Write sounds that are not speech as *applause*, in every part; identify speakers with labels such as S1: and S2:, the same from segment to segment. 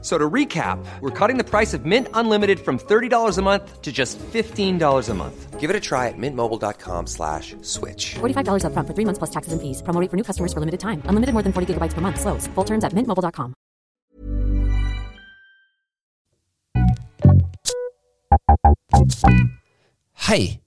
S1: So to recap, we're cutting the price of Mint Unlimited from $30 a month to just $15 a month. Give it a try at mintmobile.com slash switch.
S2: $45 upfront for three months plus taxes and fees. Promo rate for new customers for limited time. Unlimited more than 40 gigabytes per month. Slows. Full terms at mintmobile.com.
S3: Hei!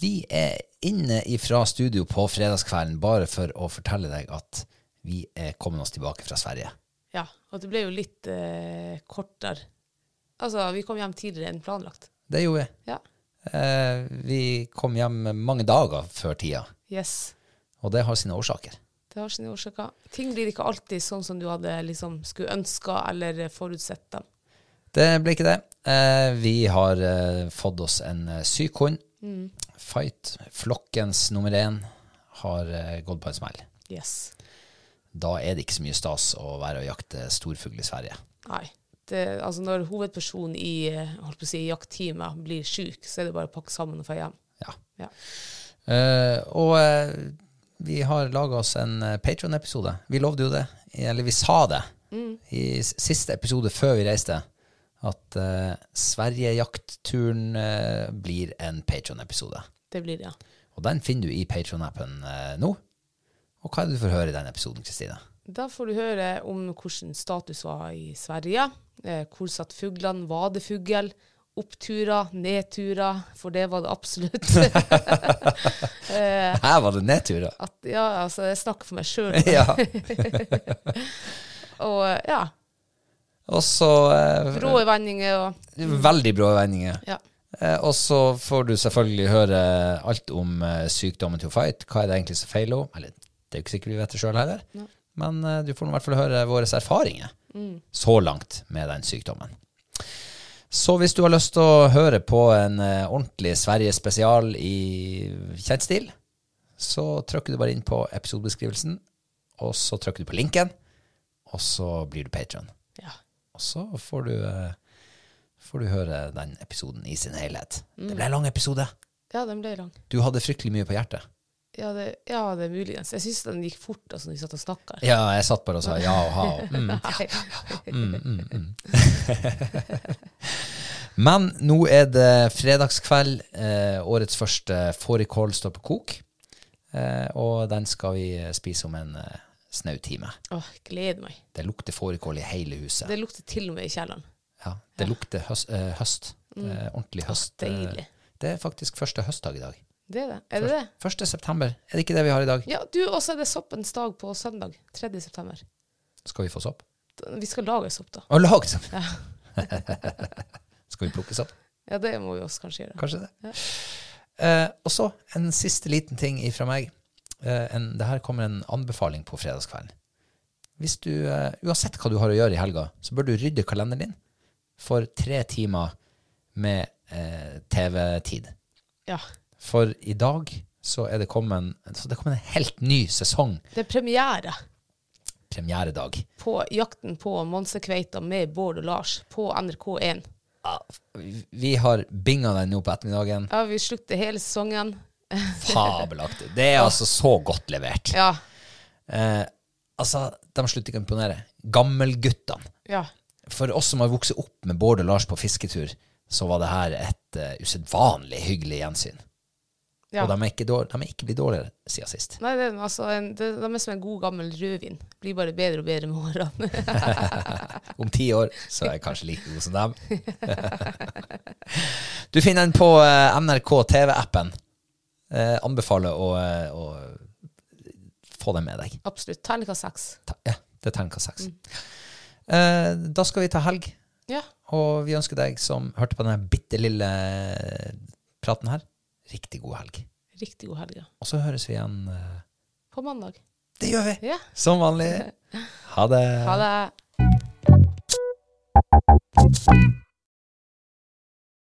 S3: Vi er inne ifra studio på fredagskvelden bare for å fortelle deg at vi er kommet oss tilbake fra Sverige.
S4: Ja, og det ble jo litt eh, kortere. Altså, vi kom hjem tidligere enn planlagt.
S3: Det gjorde vi.
S4: Ja.
S3: Eh, vi kom hjem mange dager før tida,
S4: Yes.
S3: og det har sine årsaker.
S4: Det har sine årsaker. Ting blir ikke alltid sånn som du hadde liksom skulle ønska eller forutsett dem.
S3: Det ble ikke det. Eh, vi har eh, fått oss en eh, syk hund. Fight, flokkens nummer én, har eh, gått på en smell.
S4: Yes.
S3: Da er det ikke så mye stas å være og jakte storfugl i Sverige.
S4: Nei. Det, altså når hovedpersonen i eh, holdt på å si, jaktteamet blir syk, så er det bare å pakke sammen og dra hjem.
S3: Ja.
S4: Ja.
S3: Eh, og eh, vi har laga oss en patreon episode Vi lovde jo det, eller vi sa det, i s- siste episode før vi reiste, at uh, Sverigejaktturen eh, blir en patreon episode
S4: Det blir det, ja.
S3: Og den finner du i patreon appen nå. Og hva er det du får høre i den episoden, Kristine?
S4: Da får du høre om hvordan status var i Sverige. Eh, hvor satt fuglene? Var det fugl? Oppturer? Nedturer? For det var det absolutt.
S3: Her var det nedturer!
S4: At, ja, altså, jeg snakker for meg sjøl.
S3: *laughs* ja.
S4: Og ja,
S3: Og så eh,
S4: brå vendinger og
S3: Veldig brå vendinger.
S4: ja.
S3: Eh, Og så får du selvfølgelig høre alt om eh, sykdommen til Fight. Hva er det egentlig som feiler henne? Eller det er jo ikke sikkert vi vet det sjøl heller. Men eh, du får nå i hvert fall høre våre erfaringer så langt med den sykdommen. Så hvis du har lyst til å høre på en eh, ordentlig Sverige-spesial i kjent stil, så trykker du bare inn på episodebeskrivelsen, og så trykker du på linken, og så blir du patron.
S4: ja.
S3: Og så får du, eh, får du høre den episoden i sin helhet. Det ble en lang episode.
S4: Ja, den ble lang.
S3: Du hadde fryktelig mye på hjertet.
S4: Ja, det, ja, det er muligens. Jeg syns den gikk fort altså, når vi satt og snakka.
S3: Ja, jeg satt bare og sa ja og ha. *laughs* og
S4: *laughs*
S3: Mm.
S4: Mm.
S3: *laughs* Men nå er det fredagskveld. Eh, årets første fårikål står på kok. Eh, og den skal vi spise om en eh, snau time.
S4: Åh, gleder meg.
S3: Det lukter fårikål i hele huset.
S4: Det lukter til og med i kjelleren.
S3: Ja, det lukter høst. eh, høst. Det er ordentlig høst. eh,
S4: deilig.
S3: Det er faktisk første høstdag i dag.
S4: Det er det. Er det det?
S3: 1. september. Er det ikke det vi har i dag?
S4: Ja, du, også er det soppens dag på søndag. 3. september.
S3: Skal vi få sopp?
S4: Da- Vi skal lage sopp, da.
S3: Å, lag sopp! *laughs* Skal vi plukke sopp?
S4: Ja, det må vi også kanskje gjøre.
S3: Kanskje det. Eh, og så en siste liten ting fra meg. Eh, en, det her kommer en anbefaling på fredagskvelden. Hvis du, eh, uansett hva du har å gjøre i helga, så bør du rydde kalenderen din for tre timer med eh, TV-tid.
S4: Ja.
S3: For i dag så er det kommet, så det er kommet en helt ny sesong,
S4: Det er premiere
S3: premieredag.
S4: på Jakten på monsterkveita med Bård og Lars på NRK1.
S3: Vi har binga den nå på ettermiddagen.
S4: Ja, vi slutter hele sesongen.
S3: Fabelaktig. Det er altså så godt levert.
S4: Ja.
S3: Eh, altså, de slutter ikke å imponere. Gammelguttene.
S4: Ja.
S3: For oss som har vokst opp med Bård og Lars på fisketur, så var det her et uh, usedvanlig hyggelig gjensyn.
S4: ja.
S3: Og de er, ikke dår- de er ikke blitt dårligere siden sist.
S4: Nei, det er, altså en, det, de er som en god gammel rødvin. Blir bare bedre og bedre med årene. *laughs*
S3: Om ti år så er jeg kanskje like god som dem. du finner den på eh, NRK TV-appen. Eh, anbefaler å, eh, å få den med deg.
S4: Absolutt. Terningkast seks.
S3: Ta- Ja, det er terningkast seks. Eh, da skal vi ta helg,
S4: Ja.
S3: og vi ønsker deg som hørte på denne bitte lille eh, praten her, riktig god helg.
S4: Riktig god helg. ja.
S3: Og så høres vi igjen. eh,
S4: På mandag.
S3: Det gjør vi!
S4: Ja.
S3: *laughs* Som vanlig. Ha det.
S4: Ha det.